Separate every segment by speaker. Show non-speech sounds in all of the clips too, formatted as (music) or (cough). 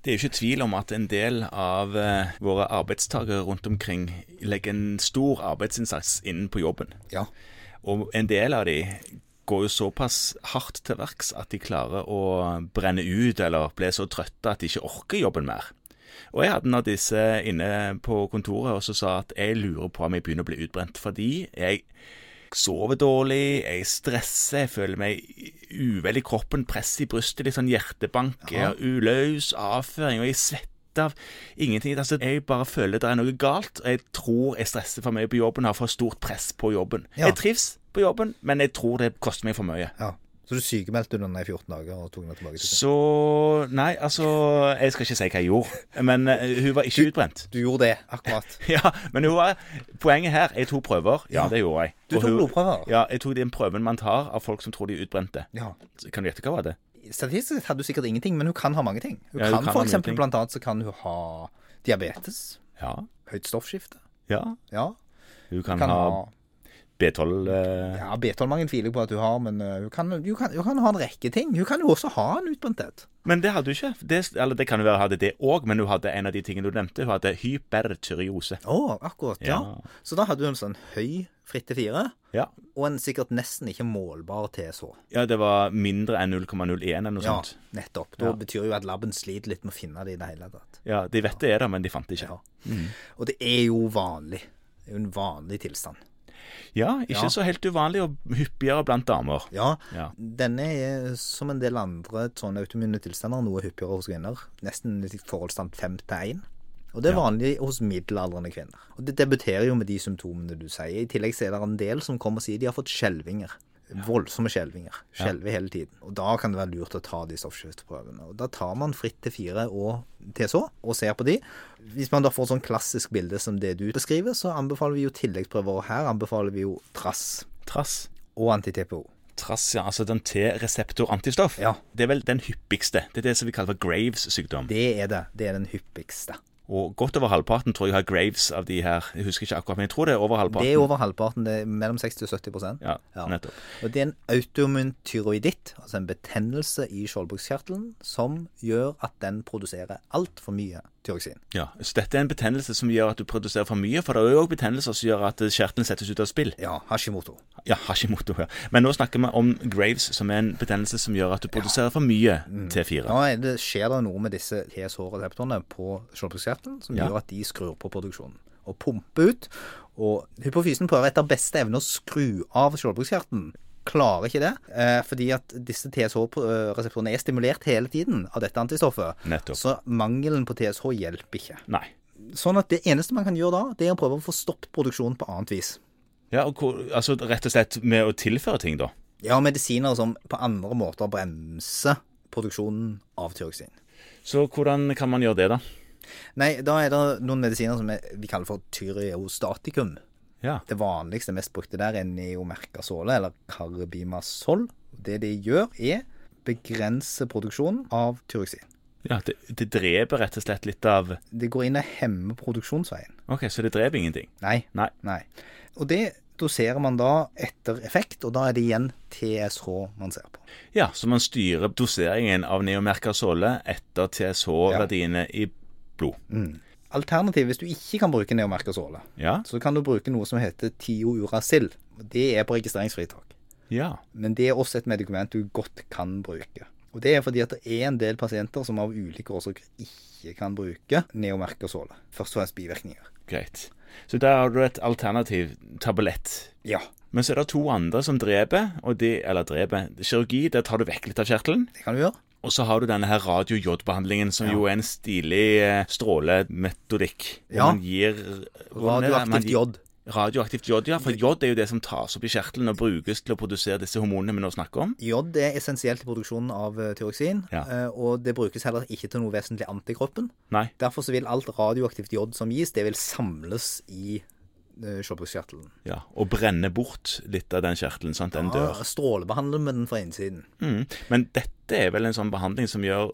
Speaker 1: Det er jo ikke tvil om at en del av eh, våre arbeidstakere rundt omkring legger en stor arbeidsinnsats inn på jobben.
Speaker 2: Ja.
Speaker 1: Og en del av de går jo såpass hardt til verks at de klarer å brenne ut eller bli så trøtte at de ikke orker jobben mer. Og jeg hadde en av disse inne på kontoret og så sa at jeg lurer på om jeg begynner å bli utbrent fordi jeg sover dårlig, jeg stresser, jeg føler meg uvel i kroppen, press i brystet, litt sånn hjertebank, jeg har uløs avføring, og jeg svetter av ingenting. Altså, jeg bare føler det er noe galt, og jeg tror jeg stresser for mye på jobben, har for stort press på jobben.
Speaker 2: Ja.
Speaker 1: Jeg trives på jobben, men jeg tror det koster meg for mye.
Speaker 2: ja. Så du sykemeldte under den i 14 dager og tok den tilbake til kontoret?
Speaker 1: Så Nei, altså Jeg skal ikke si hva jeg gjorde, men eh, hun var ikke utbrent.
Speaker 2: Du gjorde det, akkurat.
Speaker 1: (laughs) Ja, men hun var Poenget her Jeg tok prøver. Ja, det gjorde jeg.
Speaker 2: (laughs) Du
Speaker 1: Og
Speaker 2: tok
Speaker 1: hun-
Speaker 2: blodprøver?
Speaker 1: Ja, jeg tok den prøven man tar av folk som tror de er utbrente.
Speaker 2: Ja.
Speaker 1: Så Kan du gjette hva var det?
Speaker 2: Statistisk sett hadde du sikkert ingenting, men hun kan ha mange ting. Hun
Speaker 1: Ja, hun
Speaker 2: kan
Speaker 1: kan ha
Speaker 2: for
Speaker 1: mye
Speaker 2: eksempel
Speaker 1: ting.
Speaker 2: blant annet så kan hun ha diabetes,
Speaker 1: Ja.
Speaker 2: høyt stoffskifte,
Speaker 1: ja.
Speaker 2: ja.
Speaker 1: Hun kan,
Speaker 2: Kan
Speaker 1: ha
Speaker 2: ha
Speaker 1: B12 eh,
Speaker 2: Ja, B12-mangel tviler jeg på at hun har, men øh, hun kan, hun, kan, hun kan ha en rekke ting. Hun kan jo også ha en utbrenthet.
Speaker 1: Men det hadde hun ikke. Det, eller det kan jo være hun hadde det òg, men hun hadde en av de tingene du nevnte. Hun hadde hypertyreose.
Speaker 2: Å, akkurat. Ja.
Speaker 1: Ja.
Speaker 2: Så da hadde hun en sånn høy fritt til fire,
Speaker 1: Ja.
Speaker 2: og en sikkert nesten ikke målbar TSH.
Speaker 1: ja, det var mindre enn 0,01 eller noe
Speaker 2: Ja,
Speaker 1: sånt.
Speaker 2: nettopp. Da
Speaker 1: Ja.
Speaker 2: betyr jo at laben sliter litt med å finne det i det hele tatt.
Speaker 1: Ja, De vet det er det, men de fant det ikke.
Speaker 2: Ja. Og det er jo vanlig. Det er jo en vanlig tilstand.
Speaker 1: Ja, ikke
Speaker 2: Ja.
Speaker 1: så helt uvanlig, og hyppigere blant damer.
Speaker 2: Ja,
Speaker 1: Ja.
Speaker 2: denne er eh, som en del andre sånne autoimmune tilstander noe hyppigere hos kvinner. Nesten i forholdsstand fem til én. Og det er vanlig hos middelaldrende kvinner. Og det debuterer jo med de symptomene du sier. I tillegg så er det en del som kommer og sier de har fått skjelvinger. Voldsomme skjelvinger. Skjelver hele tiden. Og da kan det være lurt å ta de stoffskifteprøvene. Og da tar man fritt til fire og TSH og ser på de. Hvis man da får sånn klassisk bilde som det du beskriver, så anbefaler vi jo tilleggsprøver. Og her anbefaler vi jo trass
Speaker 1: Trass.
Speaker 2: og anti-TPO.
Speaker 1: Trass, ja. Altså den T-reseptor-antistoff.
Speaker 2: Ja.
Speaker 1: Det er vel den hyppigste. Det er det som vi kaller for Graves sykdom.
Speaker 2: Det er det. Det er den hyppigste.
Speaker 1: Og godt over halvparten tror jeg har Graves av de her. Jeg husker ikke akkurat, men jeg tror det er over halvparten.
Speaker 2: Det er over halvparten. Det er mellom 60 og 70
Speaker 1: Ja, nettopp.
Speaker 2: Og det er en autoimmun tyroiditt, altså en betennelse i skjoldbruskkjertelen, som gjør at den produserer altfor mye tyroksin.
Speaker 1: Ja, Så dette er en betennelse som gjør at du produserer for mye, for det er jo òg betennelser som gjør at kjertelen settes ut av spill.
Speaker 2: Ja, Hashimoto.
Speaker 1: Ja, Hashimoto, ja. Men nå snakker vi om Graves, som er en betennelse som gjør at du produserer for mye
Speaker 2: Mm.
Speaker 1: T4.
Speaker 2: Nå er det, skjer det noe med disse TSH-reseptorene på skjoldbruskkjertelen som
Speaker 1: Ja.
Speaker 2: gjør at de skrur på produksjonen og pumper ut. Og hypofysen prøver etter beste evne å skru av skjoldbruskkjertelen. Klarer ikke det, eh, fordi at disse TSH-reseptorene eh, er stimulert hele tiden av dette antistoffet.
Speaker 1: Nettopp.
Speaker 2: Så mangelen på TSH hjelper ikke.
Speaker 1: Nei.
Speaker 2: Sånn at det eneste man kan gjøre da, det er å prøve å få stoppet produksjonen på annet vis.
Speaker 1: Ja, og hvor, altså rett og slett med å tilføre ting, da.
Speaker 2: Ja, medisiner som på andre måter bremser produksjonen av tyroksin.
Speaker 1: Så hvordan kan man gjøre det, da?
Speaker 2: Nei, da er det noen medisiner som er, vi kaller for tyreostatikum.
Speaker 1: Ja.
Speaker 2: Det vanligste, mest brukte der, er neomerkasole, eller carbimasol. Det de gjør, er begrense produksjonen av tyroksin.
Speaker 1: ja det, det dreper rett og slett litt av
Speaker 2: Det går inn og hemmer produksjonsveien.
Speaker 1: OK, så det dreper ingenting?
Speaker 2: Nei.
Speaker 1: Nei.
Speaker 2: Nei. Og det doserer man da etter effekt, og da er det igjen TSH man ser på.
Speaker 1: Ja, så man styrer doseringen av neomerkasole etter TSH-verdiene i blod.
Speaker 2: Alternativet, Mm. hvis du ikke kan bruke neomerkasole,
Speaker 1: Ja.
Speaker 2: så kan du bruke noe som heter tiouracil. Det er på registreringsfritak.
Speaker 1: Ja.
Speaker 2: Men det er også et medikament du godt kan bruke. Og det er fordi at det er en del pasienter som av ulike årsaker ikke kan bruke neomerkasole. Først og fremst bivirkninger.
Speaker 1: Greit. Så der har du et alternativ tablett.
Speaker 2: Ja,
Speaker 1: Men så er det to andre som dreper, og de, eller dreper kirurgi. Der tar du vekk litt av kjertelen.
Speaker 2: det kan du gjøre.
Speaker 1: Og så har du denne her radio-jod-behandlingen, som jo er en stilig eh, strålemetodikk. Hvor
Speaker 2: Ja.
Speaker 1: Man gir hvor er det? Man
Speaker 2: Radioaktivt
Speaker 1: gir-
Speaker 2: jod.
Speaker 1: Radioaktivt jod, ja. For jod er jo det som tas opp i kjertelen og brukes til å produsere disse hormonene vi nå snakker om.
Speaker 2: Jod er essensielt i produksjonen av eh, tyroksin,
Speaker 1: Ja.
Speaker 2: eh, og det brukes heller ikke til noe vesentlig antikroppen.
Speaker 1: Nei.
Speaker 2: Derfor så vil alt radioaktivt jod som gis, det vil samles i eh, skjoldbruskkjertelen.
Speaker 1: Ja, og brenne bort litt av den kjertelen, sånn at den dør.
Speaker 2: Ja, Strålebehandler med den fra innsiden.
Speaker 1: Mm. Men dette er vel en sånn behandling som gjør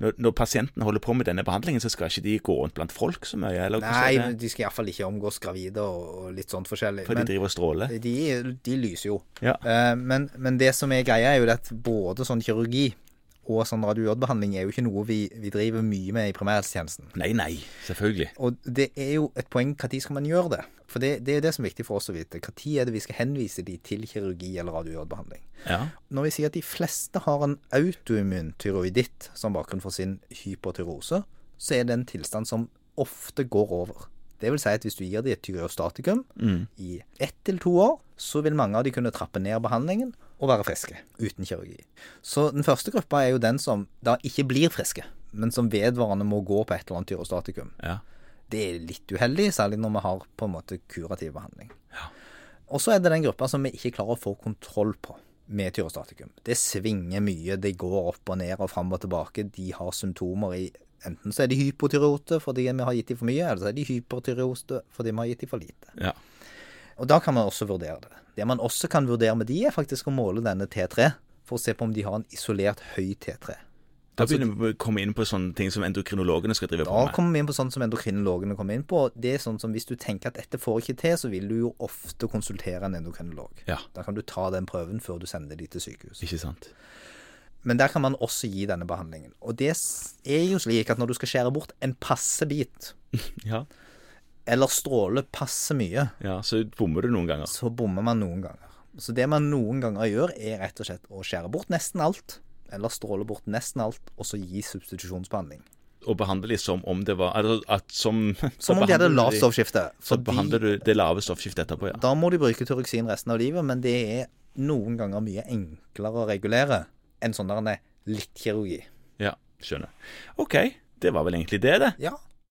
Speaker 1: når, når pasienten holder på med denne behandlingen, så skal ikke de gå rundt blant folk så mye? Eller, hvordan
Speaker 2: Nei,
Speaker 1: er det?
Speaker 2: men de skal iallfall ikke omgås gravide og, og litt sånt forskjellig.
Speaker 1: For de
Speaker 2: Men
Speaker 1: driver og stråler?
Speaker 2: de, de lyser jo.
Speaker 1: Ja.
Speaker 2: Eh, men, men det som er greia, er jo det at både sånn kirurgi og sånn radio J-behandling er jo ikke noe vi, vi driver mye med i primærhelsetjenesten.
Speaker 1: Nei, nei, selvfølgelig.
Speaker 2: Og det er jo et poeng når skal man gjøre det. For det, det er det som er viktig for oss å vite. Når er det vi skal henvise de til kirurgi eller radio J-behandling?
Speaker 1: Ja.
Speaker 2: Når vi sier at de fleste har en autoimmun tyroiditt som bakgrunn for sin hypertyrose, så er det en tilstand som ofte går over. Det vil si at hvis du gir dem et tyreostatikum i ett til to år, så vil mange av de kunne trappe ned behandlingen og være friske uten kirurgi. Så den første gruppa er jo den som da ikke blir friske, men som vedvarende må gå på et eller annet tyreostatikum.
Speaker 1: ja.
Speaker 2: Det er litt uheldig, særlig når vi har på en måte kurativ behandling.
Speaker 1: Ja.
Speaker 2: Og så er det den gruppa som vi ikke klarer å få kontroll på med tyrostatikum. Det svinger mye, det går opp og ned og fram og tilbake. De har symptomer i Enten så er de hypotyreote fordi vi har gitt dem for mye, eller så er de hypertyreote fordi vi har gitt dem for lite.
Speaker 1: ja.
Speaker 2: Og da kan man også vurdere det. Det man også kan vurdere med de, er faktisk å måle denne T3, for å se på om de har en isolert høy T3.
Speaker 1: Da begynner vi å komme inn på sånne ting som endokrinologene skal drive på
Speaker 2: Da
Speaker 1: med.
Speaker 2: kommer vi inn på sånn som endokrinologene kommer inn på. og Det er sånn som Hvis du tenker at dette får ikke til, så vil du jo ofte konsultere en endokrinolog.
Speaker 1: Ja.
Speaker 2: Da kan du ta den prøven før du sender de til sykehus.
Speaker 1: Ikke sant?
Speaker 2: Men der kan man også gi denne behandlingen. Og det s- er jo slik at når du skal skjære bort en passe bit,
Speaker 1: Ja.
Speaker 2: eller stråle passe mye,
Speaker 1: ja. Så bommer du noen ganger.
Speaker 2: så bommer man noen ganger. Så det man noen ganger gjør, er rett og slett å skjære bort nesten alt, eller stråle bort nesten alt, og så gi substitusjonsbehandling.
Speaker 1: Og behandler de som om det var altså, at som så
Speaker 2: Som om de hadde
Speaker 1: behandler
Speaker 2: lavt stoffskifte.
Speaker 1: Så
Speaker 2: fordi-
Speaker 1: behandler du det lave stoffskiftet etterpå, ja.
Speaker 2: Da må de bruke turoksin resten av livet, men det er noen ganger mye enklere å regulere enn sånn der en er litt kirurgi.
Speaker 1: Ja, skjønner. OK, det var vel egentlig det, det.
Speaker 2: Ja,